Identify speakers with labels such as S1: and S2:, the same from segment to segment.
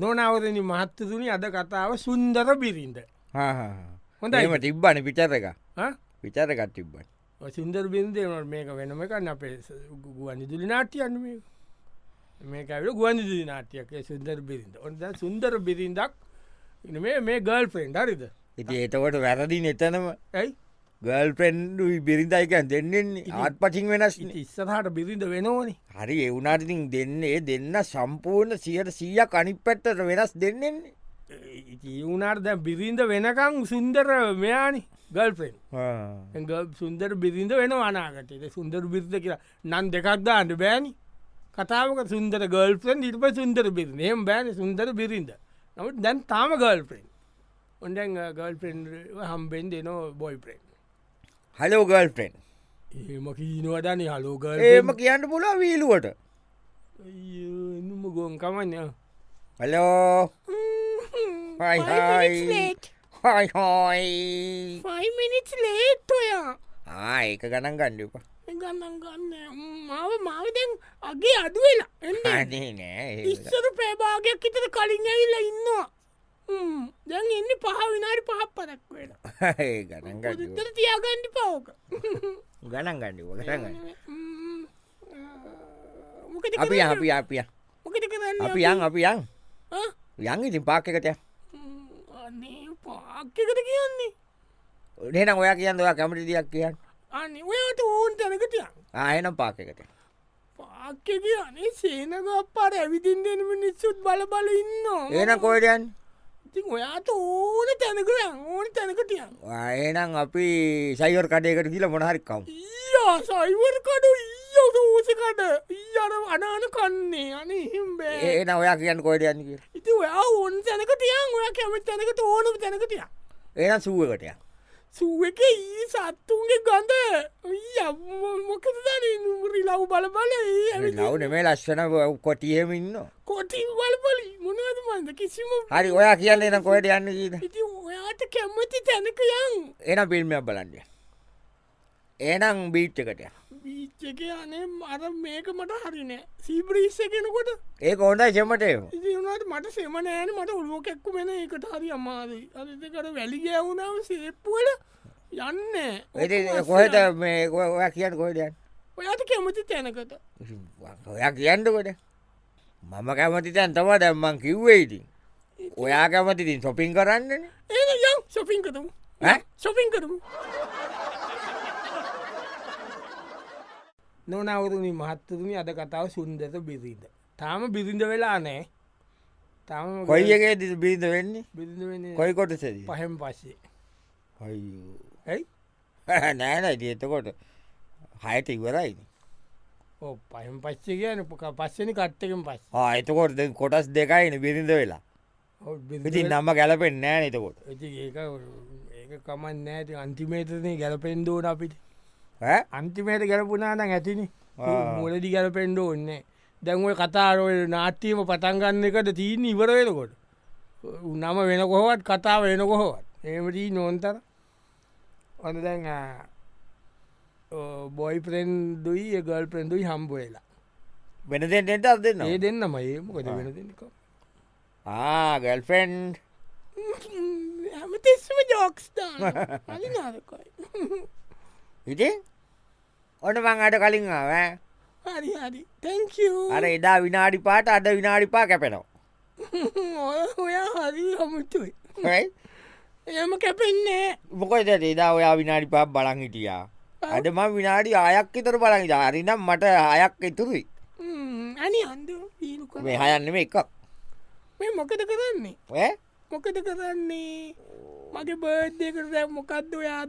S1: නොනවරණ මහත්තතුනි අද කතාව සුන්දර බිරිඳ හොඳයි.
S2: හොඳම තිබ්බන පිචරක
S1: ඈ?
S2: විචරකත් තිබ්බන
S1: ඔය සුන්දර බිරිඳේ නොට මේක වෙනම එකන්න අපේ ගුවන්දිදුලි නාට්‍යයන්න මේකල ගුවන්දිදුලි නාට්‍යයක සුන්දර බිරිඳ ඔොද සුන්දර බිරිඳක් මේ මේ ගල් පෙන්ඩ හරිද
S2: ඉති ඒතකොට වැරදි නතනම
S1: ඇයි
S2: ගල් පෙන්ඩු බිරිඳයිකන් දෙන්නෙන්නේ
S1: ඉතින්-
S2: ආත් පටින් වෙනස්
S1: ඉතින් ඉස්සරහට බිරිඳ වෙනෝනි
S2: හරි එවුනාටතින් දෙන්නේ දෙන්න සම්පූර්ණ සියට සීය කනිප් පැත්තට වෙනස් දෙන්නෙන්නේ
S1: ඉවුනාට දැ බිරිඳ වෙනකං සුන්දර මෙයානි ගල් පෙන් සුන්දර බිරිඳ වෙන වනාගටේ සුන්දර බිරිඳ කියලා නන් දෙකක්දාන්නට බෑනි කතාවක සුන්දර ගල්පෙන් ඉටප සුන්දර බිරිනයම් බෑන සුන්දර බිරිඳ නමුත් දැන් තාම ගල්පෙන් ඔොඩැන් ගල්පෙන් හම්බෙන් දෙනෝ බොයිපෙන්
S2: හලෝ ගල් පෙන්
S1: ඒම කීනවදන හලෝගල්
S2: ඒම කියන්න පුලා වීලුවට
S1: ම ගොන්කමන්න
S2: හලෝ Hi, hi. හයි හෝයි
S1: ෆයි මිනිස් ලේත් ඔයා
S2: ආඒක ගණන් ගණ්ඩුප
S1: ගන්න ගන්න මාව මාවදැන් අගේ අදුවෙලා එන්න
S2: අනේ නෑ
S1: ඉස්සර ප්‍රභාගයක් ඉතර කලින් ඇවිල්ල ඉන්නවා හ්ම්. දැන් එන්න පහ විනාරි පහක් පදක් වෙන
S2: ඒ ගණන් ගඩ
S1: ඉතර තියාගණ්ඩි පවෝක
S2: ගණන් ගණ්ඩුව ගටගන්න
S1: මොකද
S2: අපි යන්, අපි යන්, අපි යන්.
S1: මොකද කරන්න
S2: අපි යන් අපි යන් යන් ඉතින් පාක්කකට
S1: අනේ පාක්්‍යකට කියන්නේ
S2: නේනම් ඔයා කියන්න ඔයා කැමටි දෙයක් කියන්න
S1: අනි ඔයාට ඕන් තැනකටයන්
S2: ආයනම් පාකකට
S1: පාක්්‍ය කියන්නේ සේනක අපට ඇවිදින් දෙනම නිස්සුත් බලබල ඉන්නවා
S2: ඒන කොයිඩයන්
S1: ඉතින් ඔයාට ඕන තැනකර ඕන තැනකටයන්
S2: ආයනම් අපි සයිවර් කඩයකට කියල මොනහරිකම්
S1: ඊයා සයිවර් කඩු ඊය දෝසකට ඊයර අනාන කන්නේ අන හිම් බෑ
S2: ඒන ඔයා කියන්න කොයිඩයන් කිය
S1: ඉති ඔයා ඕන් තැනක තියන් ඔය කැමත් තැනකට ඕන තැනක තිය
S2: ඒන සුවකටය
S1: සුව එක ඊ සත්තුන්ගේ ගඳ මොකද රිලව් බල බල
S2: නවන මේ ලස්සන කොටියමින්න
S1: කොටින් වල්බලි මොනවද මන්ද කිසිම
S2: හරි ඔයා කියන්න එන කොයට යන්න කියීද
S1: ඉති ඔයාට කැමති තැනක යන්
S2: එන පිල්මයක් බලන්ඩ ඒනම් බීච්චකටය
S1: බීච්චක යනේ මර මේක මට හරිනෑ සීබ්‍රීස්ස කෙනකොට
S2: ඒක හොඳයි චෙමටේම
S1: ඉතිනට මට සෙම නෑන මට ඔලුවකැක්කු වෙන එකට හරි අමාදී අරිතකට වැලි ගෑවුණාව සේප්පුවල යන්න
S2: ඇති කොහෙත මේ ඔය- ඔයා කියන්න කොයිඩයන්
S1: ඔයාට කැමති තැනකට
S2: ඔයා කියන්නකොට මම කැමති තැන් තම දැම්මන් කිව්වේඉති ඔයා කැමතිතින් සොපින් කරන්නන
S1: ඒ යම් ශොපින් කරමු ශොපින් කරමු නොනවරුණ මහත්තතුනි අද කතාව සුන්දත බිරිද තාම බිරිඳ වෙලා නෑ තාම
S2: කොයිගේ දි බීද වෙන්නේ
S1: බිරිඳ වෙන්නේ
S2: කොයි කොටසද
S1: පහෙන් පස්සේ ඇයි
S2: නෑනයි එතකොට හයට ඉවරයි
S1: ඕ පහෙන් පච්චේ කියන පස්සනි කට්ටකෙන් පස්ස
S2: ආයතකොට කොටස් දෙකයින බිරිඳ වෙලා
S1: ඔව් බිරිඳ
S2: ඉතින් නම්ම ගැලපෙන් නෑ නතකොට
S1: ඇති ඒක ඒක කමන් නෑති අන්තිමේතනේ ගැලපෙන්ඩෝට අපිට අන්තිමේට ගැලපුනාට ඇතිනි
S2: ආ.
S1: මුලදි ගැලපෙන්ඩ ඔන්න දැන්ුව කතාරෝල් නාට්‍යීම පටන්ගන්න එකට තිීන් ඉවරවෙනකොට උනම වෙන කොහොවත් කතාව වෙන කොහොවත් ඒමටී නොන්තර ඔන්න දැන් බොයි ප්‍රෙන්්දුයි ගල් ප්‍රෙන්දුයි හම්බවෙලා
S2: වෙනදෙන්ට අත් දෙන්න
S1: ඒ දෙන්නම ඒ මොකද වෙන දෙන්නකෝ
S2: ආ ගල්ෆෙන්්
S1: හැමතිස්ම ජෝක්ස්ථාන අලි නාදකොයි
S2: ඉතින් ඔන්න මං අට කලින් ආව ඈ.
S1: හරි හරි තැංකූ
S2: අර එදා විනාඩි පාට අඩ විනාඩිපා කැපෙනවා
S1: ඔය ඔයා හරි හමුතුයි
S2: යි
S1: එම කැපෙන්නේ
S2: මොකයිද එදා ඔයා විනාඩි පාක් බලං හිටියා අඩම විනාඩි ආයක් ඉතර බලන් හරිනම් මට අයක් ඉතුරුයි
S1: ම්ම්, අනි අන්දු ඊලුක
S2: මේ හයන්නම එකක්
S1: මේ මොකද කරන්නේ
S2: ඈ?
S1: මොකද කරන්නේ මගේ බර්ධය කරද මොකක්ද ඔයා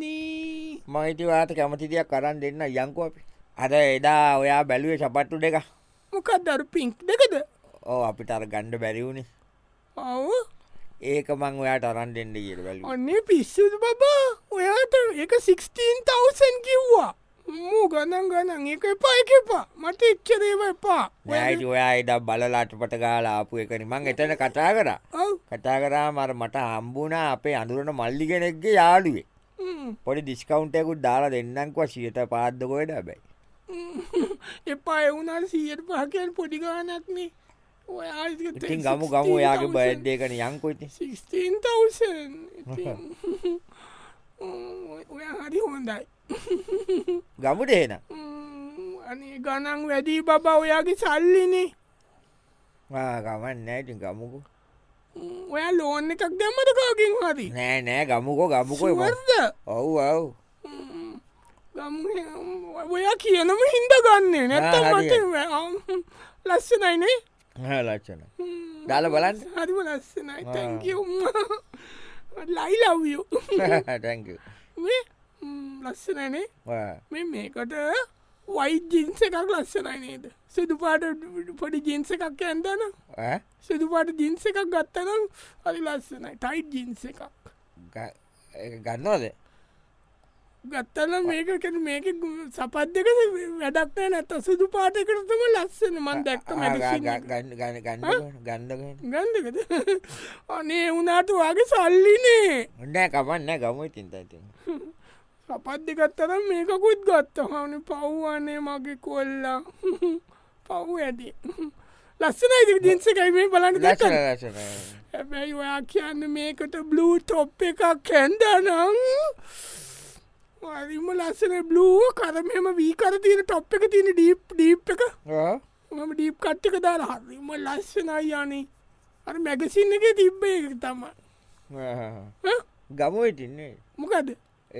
S1: දෙන්නේ
S2: මම ඉතින් ඔයාට කැමතිතියක් කරන්න දෙන්න යංකු අපි අද එදා ඔයා බැලුවේ සපට්ටු දෙක
S1: මොකක් දරු පිංක් දෙකද
S2: ඕ අපිට අර ගණ්ඩ බැරිවුණේ
S1: ඔව
S2: ඒක මං ඔයාට අරන් දෙන්න කියල බැලු
S1: ඔන්නේ පිස්සුද බබා ඔයාට එක 16තවසන් කිව්වා මූ ගණන් ගණන් එක එපා එක එපා මට එච්චරේව එපා ඔයා-
S2: නෑට ඔයා එදා බලලාට පට ගාලා ආපු එකනි මං එතන කතා කරා
S1: ඔව්.
S2: කතා කරා මර මට හම්බුණා අපේ අඳුරන මල්ලි කෙනෙක්ගේ යාළුවේ
S1: ම්ම්.
S2: පොඩි ඩිස්කවන්ටයකුත් දාලා දෙන්නක්වා සියට පාද්දකොයට බැයි
S1: එපා එවුනා සීයට පහකල් පොඩිගානක්නේ
S2: ඉතින් ගමු ගම ඔයාගේ බයද්දේකන යංකොයිති
S1: ඔය හරි හොඳයි
S2: ගමුට එහෙන
S1: ම්ම්, අනේ ගණන් වැඩී බබා ඔයාගේ සල්ලිනේ
S2: ගමන් නෑටින් ගමුකු
S1: ම්ම්, ඔයා ලෝන් එකක් දැම්මට කෝකින් හරි
S2: නෑ නෑ ගමුකෝ ගමුකෝ
S1: වර්ද
S2: ඔව් ඔව්
S1: ගම් ඔයා කියනම හින්ද ගන්නේ නැත්තම්
S2: ආ, හරියට.
S1: මට වැ- ලස්සනයිනේ
S2: ලච්චන දාල බලන්න
S1: හරිම ලස්සනයි තැක ලයි ලව්යෝ
S2: ටැක
S1: ලස්සනනේ මේ මේකට වයි ජින්ස එකක් ලස්සනයි නේද සිදුපාට පොඩි ජින්ස එකක් ඇන්දන සිදුපාට ජින්ස එකක් ගත්තනම් හරි ලස්සනයි ටයි් ජින්ස එකක්
S2: ගන්නවද
S1: ගත්තල මේක මේක ගු- සපත් දෙක වැඩක්නෑ නැත සිදු පාටකරතම ලස්සන මන් දැක්ක මැ
S2: ගන්න ගන්න ගන්න ගන්නගෙන
S1: ගන්ධකද අනේ වනාට වගේ සල්ලිනේ
S2: හොඩෑ කමන්න ගමයි තින්තති
S1: සපත් දෙකත්තරම් මේකකුත් ගත්තහන පව්වානේ මගේ කොල්ලා පව් ඇති ලස්සනයි දින්සකයි මේ බලන්න දැක
S2: ලස්සන ලස්සන
S1: හැබැයි ඔයා කියන්න මේකට බ්ලූ තොප් එකක් කැන්දනම් වරිම ලස්සන බ්ලූ කරමම වීකර තියෙන ටොප් එක තියෙන ඩීප් ඩීප් එක
S2: ඔව්.
S1: මම ඩීප් කට්ටික දාලා හරිම ලස්සනයි යනේ අර මැගසින් එක තිබ්බේ එක තම
S2: ආ. ගමුයි තින්නේ
S1: මොකද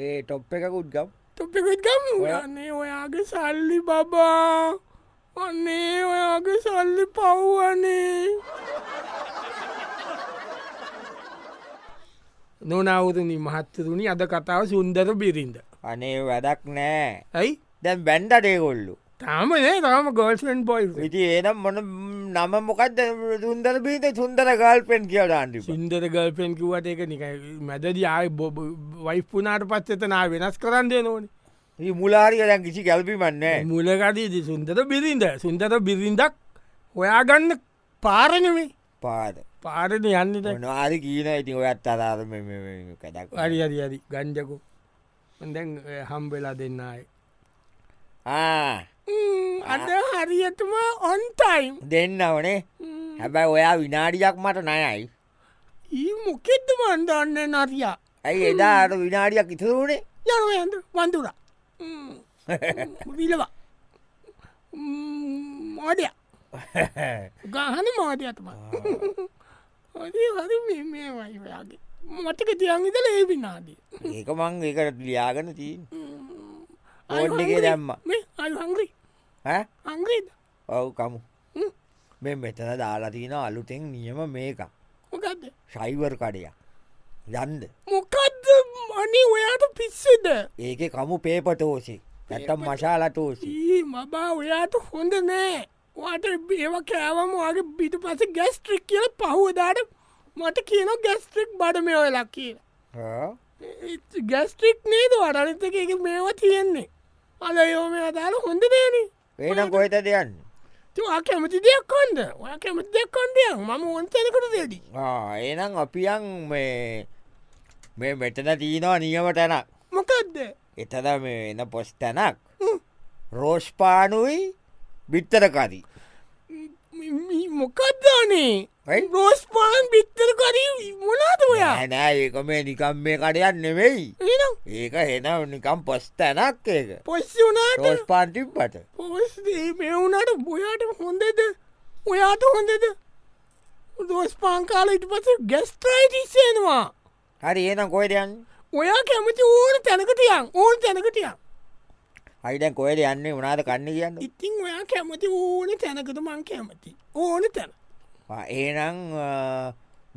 S2: ඒ ටොප් එකකුත් ගම්
S1: තොප්පකුත් ගම් ඔයන්නේ ඔයාගේ සල්ලි බබා අන්නේ ඔයාගේ සල්ලි පව්වනේ නොනවුරනි මහත්තරුණි අද කතාව සුන්දර බිරිඳ
S2: අනේ වැඩක් නෑ
S1: ඇයි
S2: දැන් බැන්ඩඩේකොල්ලු
S1: තාමනේ තම ගොල්ස්ෙන් බොයි
S2: ඉති ඒනම් මොන නම මොකක්ද සුන්දර බීත සුන්දර ගල්පෙන් කියලා ආන්ටිප
S1: සින්දර ගල්පෙන් කිවට එක නික මැදද ආය වයිපුනාට පත්්චතනා වෙනස් කරන්න නොන
S2: මුලාරික දැන් කිසි ගැල්පිමන්නේ
S1: මුලකදීදි සුන්දර බිරිඳ සුන්දර බිරිඳක් හොයාගන්න පාරනමේ
S2: පාද
S1: පාරණ යන්නට
S2: නොවාරි කියීන ඉති ඔයත් අරාරම කඩක්
S1: අරි අරි අරි ගංජකු දැන් හම්බෙලා දෙන්නයි අද හරියටම ඔන්ටයිම්
S2: දෙන්න ඕනේ හැබැයි ඔයා විනාඩියක් මට නයයි
S1: ඒ මොකෙද්ද මන්දන්න නරියා
S2: ඇයි එදා අර විනාඩියක් ඉතුරුනේ
S1: යන ඇඳ වඳුර විලවා මෝඩය ගහන මෝඩයතම හරි මේ මේ වයි ඔයාගේ මටක තියන්ගිදල ඒ විනාදී
S2: ඒක මං ඒකට ලියාගෙන තිීන් ඕඩ් එකේ දැම්ම
S1: මේ අයි හංග්‍රී අංග්‍රීද
S2: ඔව් කමු මෙ මෙතන දාලාතින අලුතෙන් නියම මේක
S1: මොකක්ද
S2: ශයිවර් කඩයක් යන්ද
S1: මොකක්ද මනි ඔයාට පිස්සද
S2: ඒක කමු පේපටෝසි නැටම් මශාලටෝසි
S1: ඊ මබා ඔයාට හොඳ නෑ වාට ඒව කෑවම වගේ බිට පස ගැස්ට්‍රික් කියල පහුවදාට මට කියන ගැස්ට්‍රික් බඩ මේ ඔය ලක්කීල ගැස්ට්‍රික් නේද වඩනතක එක මේවා තියෙන්නේ අල යෝම අදාල හොඳ දේන
S2: ඒනම් කොහෙත දෙයන්න
S1: තුවා කැමති දෙයක් කොන්ද ඔය කැමති දෙයක් කොන්ඩයක් මම ඔොන්තනකට දෙදී
S2: ඒනම් අපියන් මේ මේ මෙතන තියනවා නියම තැනක්
S1: මොකක්ද
S2: එතද මේ එන පොස් තැනක් රෝෂ්පානුයි බිත්තරකාදී
S1: ම- ම- මොකක්දානේ
S2: ඇයි?
S1: රෝස් පාන් බිත්තර කරී මොනාද ඔයා
S2: හැනෑ ඒක මේ නිකම් මේ කඩයක් නෙවෙයි
S1: එනම්
S2: ඒක හෙන නිකම් පොස් තැනක් ඒක
S1: පොස්සනාට
S2: රෝස් පාන්ටිම් පට
S1: පොස්දේ මෙවුනට බොයාට හොඳද ඔයාට හොඳද දෝස් පාංකාල ඉට පස ගැස්ට්‍රයිටිස්සේනවා
S2: හරි ඒනම් කොයිටයන්
S1: ඔයා කැමති ඕන තැනකටියන් ඕන තැනකටියන්
S2: අයිඩන් කොයට යන්නේ උනාද කන්න කියන්න
S1: ඉතිං ඔයා කැමති ඕන තැනකට මං කැමති ඕන තැන
S2: ඒනම්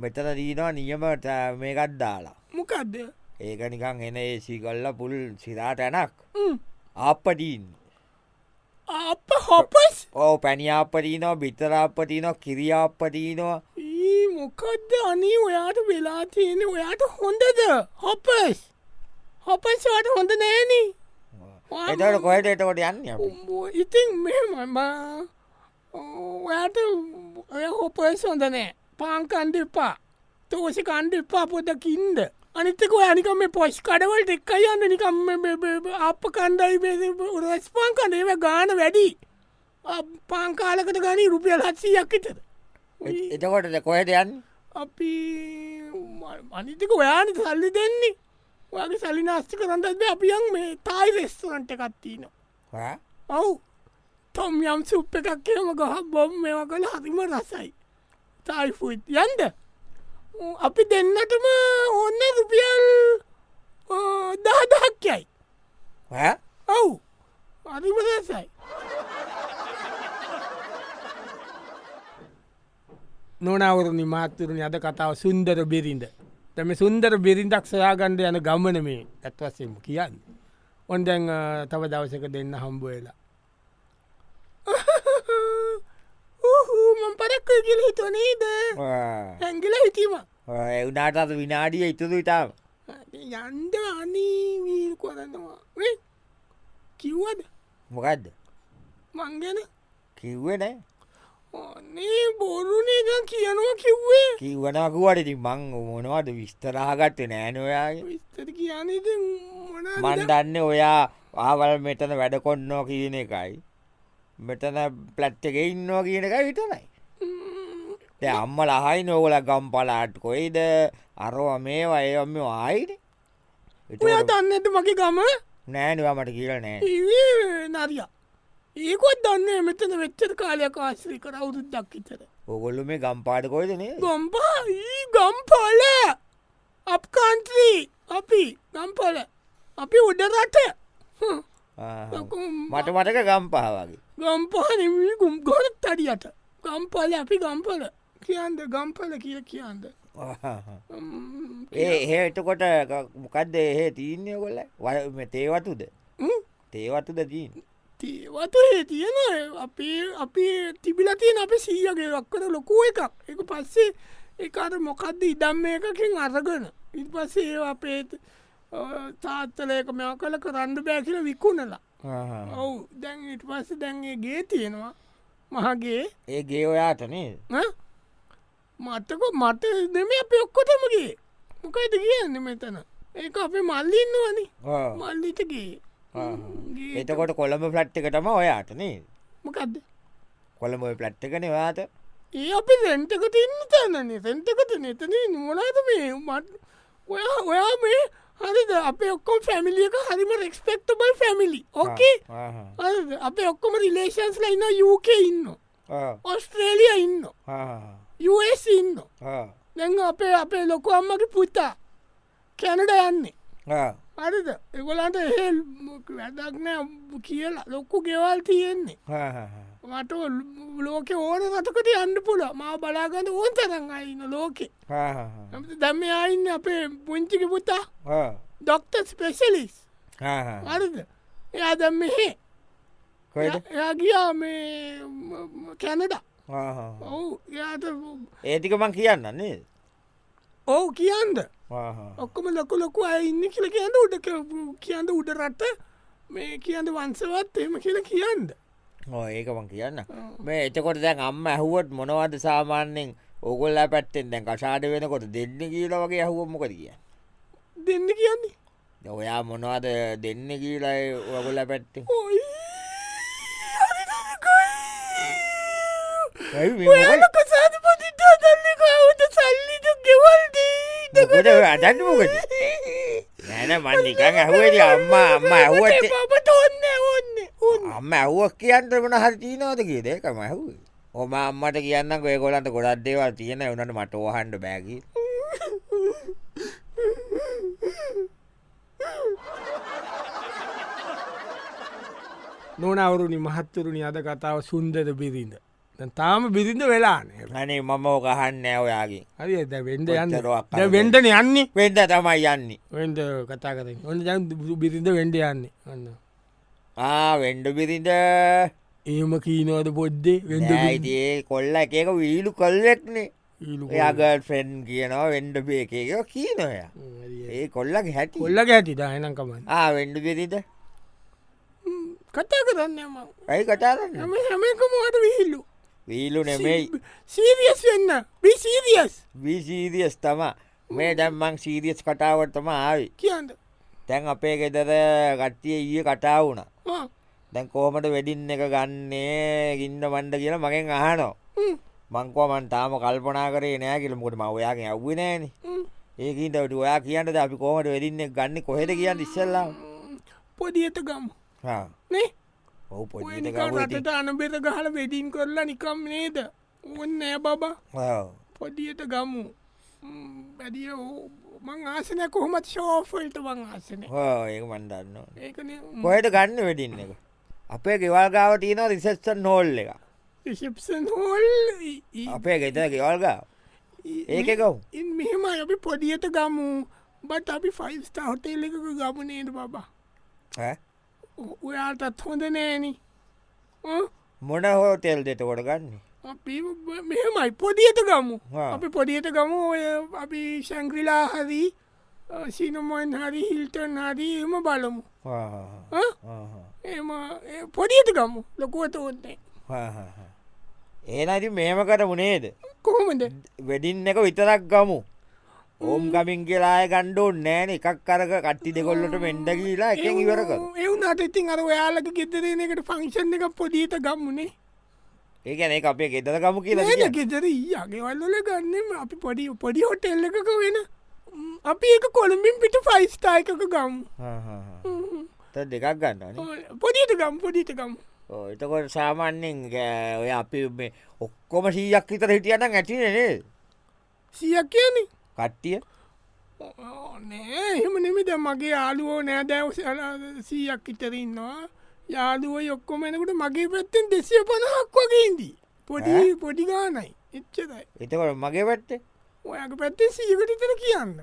S2: මෙතන දීනවා නියමට මේකත් දාලා
S1: මොකක්ද
S2: ඒක නිකං එන ඒසි කල්ල පුල් සිරාටැනක් ආපටීන්
S1: අප හොපස්
S2: ඕ පැනිියාපටීනෝ බිතරාපටීනෝ කිරියාපටීනවා
S1: ඒ මොකක්ද අනේ ඔයාට වෙලා තියෙන ඔයාට හොඳද හොපස් හොපස්වාට හොඳ නෑන
S2: එතට කොයට එතකොට යන්න
S1: ඉතින් මෙමම ඔයාට ඔය හොපස් හොඳ නෑ පාංකන්ඩ එපා තෝසි කණ්ඩ එපා පොදකින්ද අනිතක යනිකම පොස්් කඩවල් එක්ක යන්න නිකම් අප කණ්ඩයි රස් um පාංකන්ඩ ඒව ගාන වැඩි පාංකාලකට ගනී රුපියල් හත්සීයක් ඉතද
S2: එ- එතකොටද කොහෙද යන්න
S1: අපි අනිතික ඔයානි සල්ලි දෙන්නේ ඔයාගේ සල්ලි නාස්ති කරන්නද අපියන් මේ තායි රෙස්තුරන්ට එකත්තින
S2: හා?
S1: ඔවු තොම් යම් සුප් එකක් කියම ගහ බොම් මේව කළ හරිම රසයි තායිෆුයිත් යන්ද ඌ අපි දෙන්නටම ඔන්න රුපියල් දහදහක්යයි
S2: හා?
S1: ඔවු අරිම රසයි නොනවරණ මාතතුරණ අද කතාව සුන්දර බිරිඳ. තැම සුන්දර බිරිඳක් සොයාගණ්ඩ යන ගමන මේ ඇත්වසම කියන්න. ඔන් දැන් අ, තව දවසක දෙන්න හම්බුවෙලා. මම පරක්ක කියල හිතනේද
S2: ආ.
S1: ඇගිල හිතීම
S2: ආ, ඒ වුනාට අද විනාඩිය ඉතුරු ඉතාම
S1: යන්ද අනීවීල් කොරන්නවා වෙ? කිව්වද
S2: මොකක්ද
S1: මංගැන
S2: කිව්වේ නෑ
S1: ඕනේ බොරුනේද කියනවා කිව්වේ
S2: කිව්වනකුවට ඉති මං මොනවද විස්තරාගත්තේ නෑනොයාගේ
S1: විස්තර කියනද
S2: මන්
S1: මොන
S2: දන්න ඔයා ආවල් මෙතන වැඩකොන්නෝ කියන එකයි මෙතන පලට් එක ඉන්නෝ කියන එක විතනයි ඒ අම්ම ලහයි නෝගල ගම් පලාට් කොයිද අරෝ මේවා ඒම ආයිට
S1: ඔයා දන්නට මගේ ගම
S2: නෑනවාමට කියල නෑ
S1: ඒ නරිය ඒකොත් දන්න මෙතන වෙච්චර කාලයක් ආශ්‍රී කර අවුරුද්දක් ඉතර
S2: ඔගොල්ලු මේ ගම්පාට කොයිදනේ
S1: ගම්පා ඊ ගම්පොල අප්කාන්ත්‍රී අපි ගම්පොල අපි උඩරට හ්ම්. ලොකු
S2: මට මටක ගම්පා වගේ
S1: ගම්පහනමී ගුම් ගොරත් අඩියට ගම්පල අපි ගම්පල කියන්ද ගම්පල කිය කියන්ද ම්ම්.
S2: ඒ එහෙ එතකොට මොකක්ද එහෙ තිීන්නය කොල්ල වල තේවතුද
S1: ම්ම්.
S2: තේවතුද දීන්
S1: තිවතේ තියෙන අපේ අපේ තිබිලතියෙන් අප සීයගේ රක්කර ලොකෝ එකක් එක පස්සේ එකර මොකක්ද ඉඩම් එකකින් අරගන ඉ පස්සේ ඒ අපේ තාත්තලයක මෙ කල කරන්න බෑකිල විකුණලා ඔවු දැන් ඉට පස්ස දැන්ගේ ගේ තියෙනවා මහගේ
S2: ඒ ගේ ඔයාටනේ
S1: ඈ? මටක මට දෙම අප ඔක්කොටමගේ මොකයිද කියන්න මෙතන ඒක අපේ මල්ලින්නවනි මල්ලිටගේ
S2: එතකොට කොළඹ පලට් එකටම ඔයාටනේ
S1: මොකක්ද
S2: කොළඹ පලට් එකන වාට
S1: ඒ අපි රෙන්ටක තින්න තැනන්නේ සෙන්ටකට නෙතන නොලාද මේ මට ඔයා ඔයා මේ හරිද අප ඔක්කොම් ෆැමිලියක හරිම රෙක්ස්පෙක්ටබල් ෆැමිලි ඕකේ හරිද? අපේ ඔක්කොම රිලේෂන්ස් ලයින්න යුක ඉන්න ඔස්ට්‍රේලිය ඉන්න යස් ඉන්න දැන් අපේ අපේ ලොකු අම්මගේ පුතා කැනඩ යන්නේ අරිද එගොලන්ට එහෙල් වැදක්නෑ කියලා ලොක්කු ගෙවල් තියෙන්නේ මට ඔල්- ලෝකෙ ඕන රටකට යන්න පුල මා බලාගන්න ඕන් තරන් අයින්න ලෝකේ දැම අයින්න අපේ පුංචික පුතා ඩොක්ට ස්පෙශලිස් අරද එයා දැම් මෙහේ
S2: කොයිද
S1: එයා ගියා මේ කැනඩ ඔවු එයාට
S2: ඒතික මං කියන්නන්නේ
S1: ඔවු කියන්ද ඔක්කොම ලොක ලොකු අයින්න කියල කියන්න උඩ කියන්න උඩ රට මේ කියන්න වන්සවත් එම කියල කියන්න
S2: ඒක මං කියන්න මේ එතකොට දැන් අම්ම ඇහුවත් මොනවද සාමාන්‍යෙන් ඕගොල්ල පැත්තෙන් දැන් කසාඩ වෙනකොට දෙන්න කියලා වගේ ඇහුවොමොක කිය
S1: දෙන්න කියන්නේ
S2: ඔයා මොනවද දෙන්න කියීලයි ඔගොල්ල පැත්තේ
S1: ඔයි හරි නරකයි.
S2: ඇයි මේ
S1: ඔයාල
S2: මොකද?
S1: කසාධපතිට අදල්ල කවුද සල්ලිට ගෙවල්දී
S2: මොකද ඔය අදන්න මොකද නැන මන් නිකන් ඇහුවද අම්ම අම්ම ඇහුවට
S1: බට ඔන්න ඔන්න ඔන්න
S2: අම්ම ඇහුවක් කියන්ට වන හරිතිීනවද කියද එකම ඇහු ඔම අම්මට කියන්න ගොයගොලන්ට ගොඩක් දේවල් තියෙන එවනට මට ඕහන්ඩ බෑගී
S1: නොනවරුණි මහත්තරුණි අද කතාව සුන්දර බිරිඳ දැන් තාම බිරිඳ වෙලාන
S2: හනේ මම ඕකහන්න ඔයාගේ
S1: හරි ඇද වෙන්ඩ
S2: කොච්චරක්
S1: යන්න වෙන්ඩන යන්නේ
S2: වෙන්න තමයි යන්නේ
S1: වෙන්ඩ කතා කර ඔන්න දැන් බිරිඳ වෙන්ඩ යන්නේ ඔන්න
S2: ආ වෙන්ඩ බිරිඳ
S1: ඒම කීනවද පොද්දේ වෙන්ඩ
S2: ඇයිතිඒ කොල්ල එකක වීලු කොල්ලෙක්නේ එයාගල් ෆෙන්න් කියනවා වෙන්ඩ බේකයෝ කියීනොයා ඒ කොල්ලක් හැටි
S1: කොල්ලක ඇති දායනකමන්න
S2: ආ වෙන්ඩ බිරිඳ
S1: කතා කරන්න ම
S2: ඇයි කටාරන්න
S1: නම හැමකම අට විහිල්ලු
S2: වීලු නෙමෙයි
S1: සීරියස් වෙන්න බිසීරියස්
S2: විසීදියස් තම මේ දැම්මං සීරියස් කටාවටම ආවි
S1: කියන්න
S2: තැන් අපේ ගෙදර ගට්ටිය ඊය කටා වුණ දැන් කෝමට වෙඩින් එක ගන්නේ ගින්න වන්ඩ කියලා මගෙන් අහනෝ මංකවමන් තාම කල්පනා කරේ නෑකිලමුකට ම ඔයාගේ ඇව්විනෑන ඒකන්ට ඔයා කියන්නට ද අපි කෝමට වෙරින්න ගන්න කොහෙට කියන්න ඉස්සල්ලා
S1: පොදියට ගම් නේ
S2: ඔහු
S1: ඔය
S2: පොඩිට
S1: නිකන් රටට අනබෙත ගහල වෙඩින් කරලා නිකම් නේද ඔන්න නෑ බබා පොඩියට ගමු බැදිය මං ආසන කොහොමත් ශෝෆල්ට වං ආසන
S2: ඒ මන්දන්න
S1: ඒකන
S2: කොහට ගන්න වෙටින්න එක අපේ ගෙවල්ගාව තියන රිසෙස්සන් නෝල් එක
S1: ශිප්සන් හොල්
S2: අපේ ගෙත ගෙවල්ගා ඒකකව්
S1: ඉන් මෙහෙම අපි පොඩියට ගමු බට අපි ෆයිස්ට හොටේල් එකක ගමු නේද බබා ඔ- ඔයාටත් හොඳ නෑනි
S2: මොන හෝටෙල් දෙට කොට ගන්න
S1: අපි බ- මෙහෙමයි පොඩියට ගමු
S2: ආ.
S1: අපි පොඩියට ගමු ඔය අපි ශංක්‍රලා හරි සිනමොන් හරි හිල්ටන් හරි එම බලමු ආ? එම ඒ පොඩියට ගමු ලොකුවට ඕන්නේ
S2: ඒනති මේම කට මුණේද
S1: කොහොමද
S2: වෙඩින් එක විතරක් ගමු ඕම් ගමින් කියලාය ගණ්ඩෝ නෑන එකක් කරක කට්ටි දෙකොල්ලට මෙන්ඩ කියලා එක ඉවර කර
S1: එවුනට ඉතින් අර ඔයාලක ගෙදරන එකට ෆංක්ෂන් එක පොඩියට ගම්මුණේ
S2: ඒකන ඒ අපේ ගෙතර ගමු කියලා
S1: එන
S2: කියන්නේ.
S1: ගෙදර අගේවල්ලල ගන්නම අපි පොඩි පොඩි හොටෙල්ල එකක වෙන ම්, අපි එක කොළඹින් පිට ෆයිස්ටායකක ගම්
S2: හා හා හා. තත් දෙකක් ගන්නන
S1: පොඩියට ගම් පොඩිට ගම්
S2: එතකොට සාමාන්‍යෙන් ගෑ ඔය අපි මේ ඔක්කොම සීයක් විතර හිටියන ඇතිනේ
S1: සියක් කියන්නේ
S2: කට්ටිය
S1: නෑ එහෙම නෙමෙද මගේ යාලුවෝ නෑ දැවසල සීයක් ඉතරන්නවා යාලුව යොක්කොම එනකට මගේ පැත්තෙන් දෙසිය පනහක් වගේදී පොඩි පොඩි ගානයි එච්චදයි
S2: එතකොට මගේ පැත්තේ
S1: ඔයක පැත්තේ සීකට ඉතර කියන්න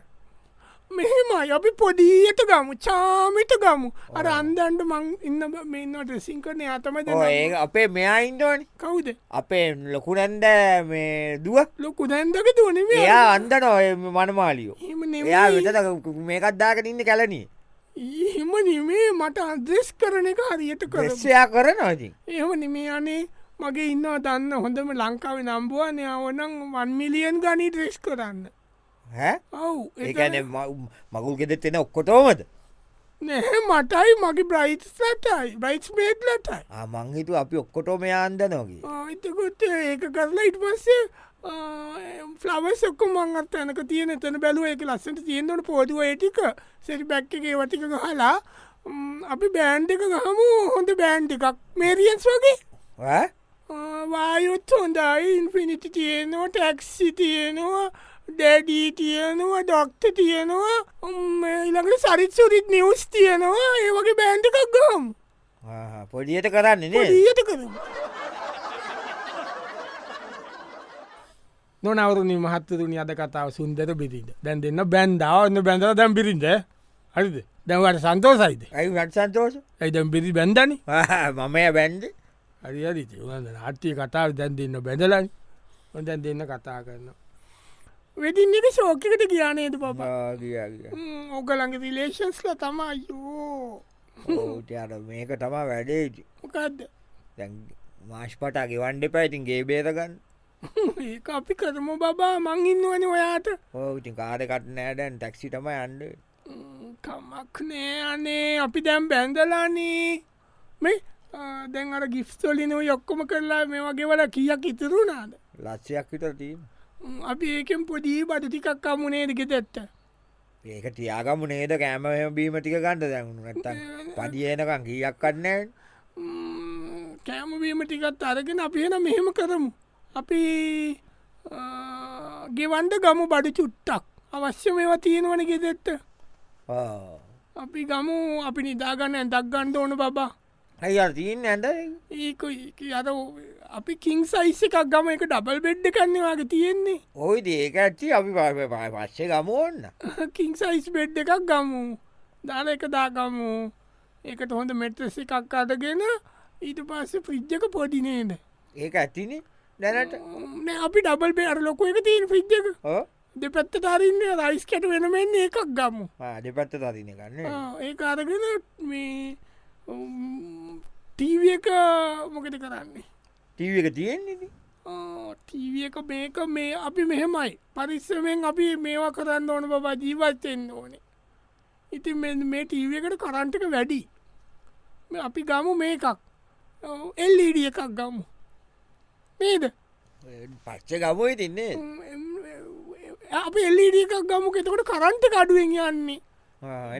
S1: මෙහෙමයි අපි පොඩීයට ගමු චාමිට ගමු අර අන්දන්ට මං ඉන්න බ- මෙන්නට සිංකරන අතමද
S2: ඕ ඒ අපේ මෙයා ඉන්දෝනි
S1: කවුද
S2: අපේ ලොකුනැන්ද මේ දුව
S1: ලොකු දැන්දක දනේ
S2: එයා අන්දන ඔය මනමාලියෝ
S1: එහෙම
S2: එයා
S1: නෙමෙයි.
S2: විතට මේකත් දාකට ඉන්න කැලනී
S1: එහෙම නෙමේ මට අදෙස් කරන එක හරියට කර
S2: ක්‍රස්සයා කරන ඉතින්
S1: එහෙම නෙමේ අනේ මගේ ඉන්නවා දන්න හොඳම ලංකාව නම්බුවන අවනම් වන් මිලියන් ගනී ්‍රෙස් කරන්න
S2: හැ
S1: ඔව්
S2: ඒකන මගුල් ගෙදෙත් එෙන ඔක්කොටෝමද
S1: නැහැ මටයි මගේ බ්‍රයිට් සටයි බයිස් බේට් ලටයි
S2: මංහිතු අපි ඔක්කොටෝ මෙයා අන්දනෝගේ
S1: එතකොත් ඒක කරලා ඉට පස්සේ ෆලවස් ඔක්ක මංගත් යනක තියෙන එතන බැලුව එක ලස්සට තියෙන්න්නට පෝදුව ඒටික සෙරි බැක්කගේ වටික හලා අපි බෑන්් එක ගහමු හොඳ බෑන්් එකක් මේරියන්ස් වගේ ආ, වායුත් හොඳයි ඉන්ෆිනිිටි තියෙනවා ටැක්සි තියෙනවා ඩැඩී තියෙනවා ඩොක්ට තියෙනවා උම්, ඊළඟට සරිත් සුරිත් නිියවස් තියෙනවා ඒ වගේ බෑන්් එකක් ගම්
S2: පොඩියට කරන්නේ නේ
S1: ඊයට කරමු නොනවරුණනි මහත්තරුණනි අද කතාව සුන්දර බිරිද දැන් දෙන්න බැන්ඩාවන්න බැඳර දැම් පිරිද හරිද දැවට සන්තෝසයිද
S2: ඇයි වට සන්තෝෂ
S1: ඇයිදැම් පිරි බැන්ඩනි
S2: මම බැන්ද
S1: හරි හරි හට්ටිය කතාව දැන් දෙන්න බැඳලයි දැන් දෙන්න කතා කරන්න වෙඩින් එක ශෝකකට කියානේද පපා ඕක ළඟ රිලේෂන්ස්ල තමයි යෝ
S2: ට මේක තමා වැඩේජ
S1: මොකක්ද
S2: මාශ්පටා ගෙවන්ඩ පැයිතින් ගේ බේතගන්න
S1: ඒ අපි කරම බබා මං ඉන්නවනි ඔයාට
S2: ඕඉති කාරකට නෑඩැන් ටැක්සි තම අන්ඩ
S1: ම්ම්, කමක් නෑ අනේ අපි දැම් බැන්දලානේ මේ ආ, දැන් අර ගිස්තොලිනෝ යොක්කොම කරලා මේ වගේ වල කියක් ඉතුරුණාද
S2: ලස්සයක් විතර තිීම
S1: ම්ම්, අපි ඒකෙන් පොඩී බඩ ටිකක් අමුණේද ගෙතෙත්ත
S2: ඒක තියාගම නේද කෑම එහෙම බීම ටික ගණඩ දැන්ු නැත පදියනකං කියක් කන්නෑ
S1: කෑමවීම ටිකත් අරගෙන අපි එන මෙහෙම කරමු අපි ආ, ගෙවන්ඩ ගමු බඩි චුට්ටක් අවශ්‍ය මේවා තියෙනවන ගෙතෙත්ත අපි ගමු අපි නිදාගන්න ඇදක් ගණ්ඩ ඕන බබා
S2: ඇයි අතිීන් ඇඳ
S1: ඒක අර අපි කින් සයිස් එකක් ගම එක ඩබල් බෙඩ්ඩ කන්නවාගේ තියෙන්නේ
S2: ඔයි ඒක ඇත්ති අපි ප පස්සේ ගමෝන්න
S1: කින් සයිස් බෙඩ් එකක් ගමු දාන එක දාගමු ඒකට හොඳ මෙට්‍රස එකක් අදගෙන ඊට පස්ස ෆ්‍රිජ්ජක පොඩිනේද
S2: ඒක ඇතිනේ දැනට
S1: නෑ අපි ඩබල් බේර ලොක එක තියෙන ෆිජ්ජක දෙපැත්ත තරන්න රයිස් කැට වෙනමෙන් එකක් ගමු
S2: දෙපත්ත තතින ගන්න
S1: ආ, ඒක අරගෙන මේ ටීව එක මොකද කරන්නේ
S2: ටීව එක තියෙන්නේ
S1: ටීව එක මේක මේ අපි මෙහෙමයි පරිස්සමෙන් අපි මේවා කරන්න ඕන බබා ජීවත්තෙන්න්න ඕනේ ඉතින් මෙ- මේ ටීව එකට කරන්ටක වැඩි මේ අපි ගමු මේකක් එල්ලඩිය එකක් ගමු නේද
S2: පච්ච ගමයි තින්නේ
S1: අප එල්ලඩක් ගමු එතකොට කරන්ට කඩුවෙන් යන්නේ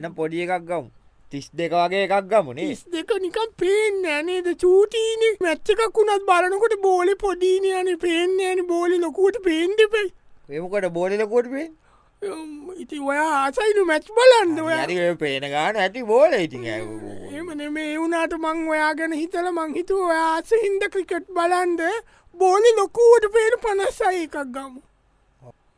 S2: එන පොඩි එකක් ගම් තිස් දෙක වගේ එකක් ගමනේ
S1: ඉස් දෙක නිකම් පේෙන් නෑනේද චූටීනෙක් මැච්චකක් වුණත් බලනකොට බෝලි පොඩීනයන පේෙන් යන බෝලි ලොකුවට පේන්ඩිපයි
S2: එමකට බෝලලකොටපේ
S1: ඉති ඔයා ආසයින මැච් බලන්න ඔයා
S2: ඇරි පේන ගාන ඇති බෝල ඉති
S1: එමන මේ වුණට මං ඔයා ගැන හිතල මංහිතු ඔයාස හින්ද ක්‍රිකට් බලන්ද බෝලි ලොකුවට පේන පනස්සයි එකක් ගමු.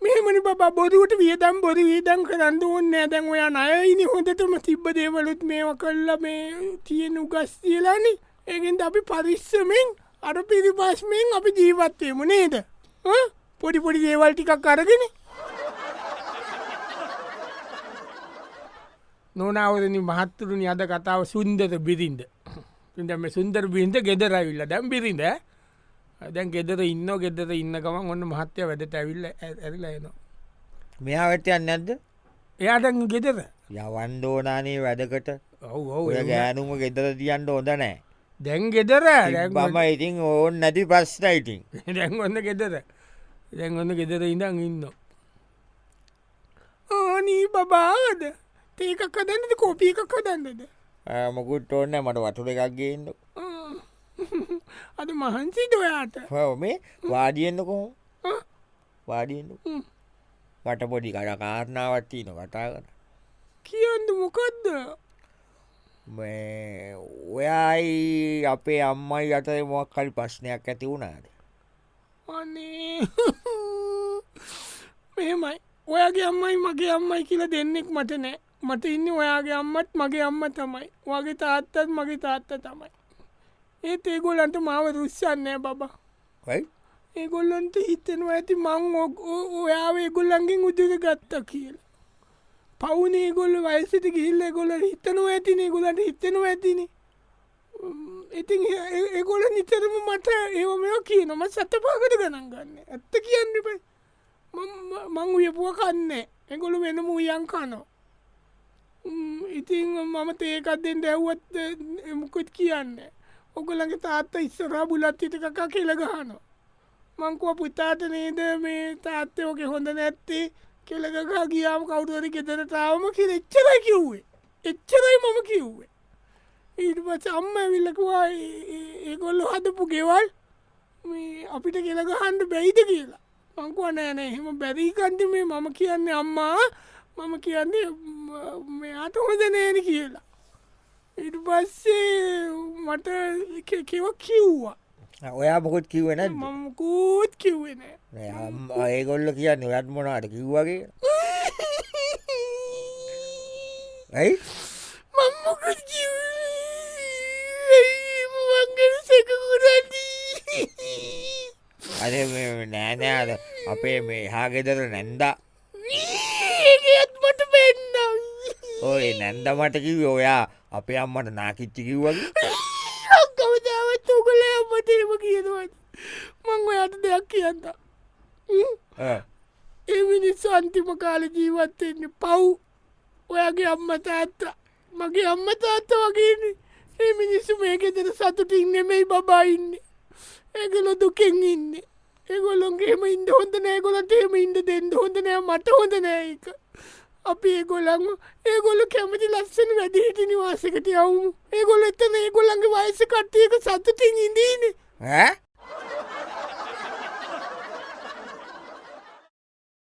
S1: මෙමනි බ බොරුවට වියදම් බොරි වීදම් කරන්න ඕන්න ඇදැන් ඔයා අයයිනි හොඳටම තිබ්බ දේවලුත් මේව කල්ල මේ තියෙන උගස් කියලානි ඒගෙන් අපි පරිස්සමෙන් අර පිරිපස්මෙන් අපි ජීවත්වයමු නේද ඈ? පොඩි පොඩි දේවල් ටිකක් අරගෙන නොනවරන මහත්තුරුනි අද කතාව සුන්දර බිරින්ද ඉදම සුන්දර බිරින්ද ගෙදරවිල්ල දැම් බිරිඳ දැන් ගෙදර ඉන්න ගෙදර ඉන්නකම ඔන්න මහත්‍යය වැඩට ඇවිල්ල ඇරිලා එනවා
S2: මෙයා වැටයන්න ඇද
S1: එයාට ගෙදර
S2: යවන්ඩෝනානේ වැඩකට
S1: ඔව ඔව
S2: ඔය ගෑනුම ගෙදර තියන්ට හොඳ නෑ
S1: දැන් ගෙදර දැන් ඔන්න-
S2: බම ඉතින් ඕන් නැති පස්සයිඉතින්
S1: දැන් ඔන්න ගෙදර දැන් ඔන්න ගෙදර ඉඳන් ඉන්න ඕනී බබාද ඒක කදන්නද කෝපී එකක් කදන්නද
S2: මොකුත් ඕන්න මට වටුර එකක් ගේන්න
S1: අද මහන්සිට ඔයාට
S2: මේ වාඩියෙන්න්නකෝ
S1: ආ?
S2: වාඩියෙන්න්න
S1: හ්ම්.
S2: මට පොඩි කඩ කාරණාවත්තින කටා කර
S1: කියන්න මොකක්ද
S2: මේ ඔයයි අපේ අම්මයි අත මොක් කල් ප්‍රශ්නයක් ඇති වුණාද
S1: අනේ මෙහෙමයි ඔයාගේ අම්මයි මගේ අම්මයි කියලා දෙන්නෙක් මට නෑ මට ඉන්න ඔයාගේ අම්මත් මගේ අම්ම තමයි වගේ තාත්තත් මගේ තාත්ත තමයි ඒත් ඒගොල්ලන්ට මාව රුෂ්‍යන්නෑ බබා
S2: යි
S1: ඒගොල්ලන්ට හිතෙනවා ඇති මං ඔක්- ඔ- ඔයාව ඒගොල්ලන්ගෙන් උදක ගත්තා කියලා පවුනේ ගොල්ල වයිසට ගිල්ල ගොල හිතනවා ඇතින ගොලට හිතනවා ඇතින ඉතින් ඒ- ඒ- ඒගොල්ල නිතරම මට ඒව මෙෝ කියනම සතපාකට ගණන් ගන්න ඇත්ත කියන්නපයි මං උයපුුව කන්නේ එගොලු වෙනම උයන් කනෝ ම්ම්, ඉතින් මම තේකත්ෙන් දැව්වත් එමුකුත් කියන්න ඔගොලගේ තාත්ත ඉස්සරා බුලත් හිට කකා කෙළගහනෝ මංකුව පුතාට නේද මේ තාත්තයෝක හොඳ නැත්තේ කෙළගකා ගියාම කවුරුවරි ගෙදරටාවම කිය එච්චරයි කිව්වේ එච්චරයි මම කිව්වේ ඊට පච අම්ම ඇවිල්ලකවා ඒගොල්ලො හදපු ගෙවල් මේ අපිට කෙළගහන්ඩ බැයිද කියලා මංකුව නෑනෑ එහෙම බැරිකන්ති මේ මම කියන්නේ අම්මා මම කියන්නේ ම- මෙයාට හොඳ නෑන කියලා ඉට පස්සේ මට එක- කෙව කිව්වා
S2: ඔයා මොකොත් කිවෙන
S1: මමකූත් කිව්වෙනෑ
S2: ඒගොල්ල කියන්න ඔයත් මොනාට කිව්වගේ ඇයි
S1: මංමකත් කිව්වගෙන සැකකුරන්නේ
S2: අද නෑනෑද අපේ මේ හා ගෙදර නැන්දා
S1: ඒත් මට පෙන්නම්
S2: ඔය නැන්ද මට කිව ඔයා අපේ අම්මට නාකිච්චි කිව්වගේ
S1: කවදාවත් උගල අම්මටම කියනවත් මං ඔයාට දෙයක් කියන්න
S2: ආ.
S1: එමිනි සන්තිම කාල ජීවත්වෙන්න පව් ඔයාගේ අම්ම තාත්ත මගේ අම්ම තාත්ත වගේන්නේ ඒ මිනිස්සු මේකෙතර සතුටින් නෙමෙයි බබයින්නේ ඒගොලො දුකෙන් ඉන්න ඒගොලොන්ගේම ඉන්ද හොඳ නෑගොලට එම ඉන්ද දෙන්න හොඳ නෑ මට හොඳ නෑක අපි ඒගොලං ඒගොල කැමති ලස්සන වැඩිහිටි නිවාසකට යවුම් ඒගොල එතන ඒගොල්ලන්ගේ වයස කට්ටියක සතුටින් ඉඳීනේ
S2: ඈ?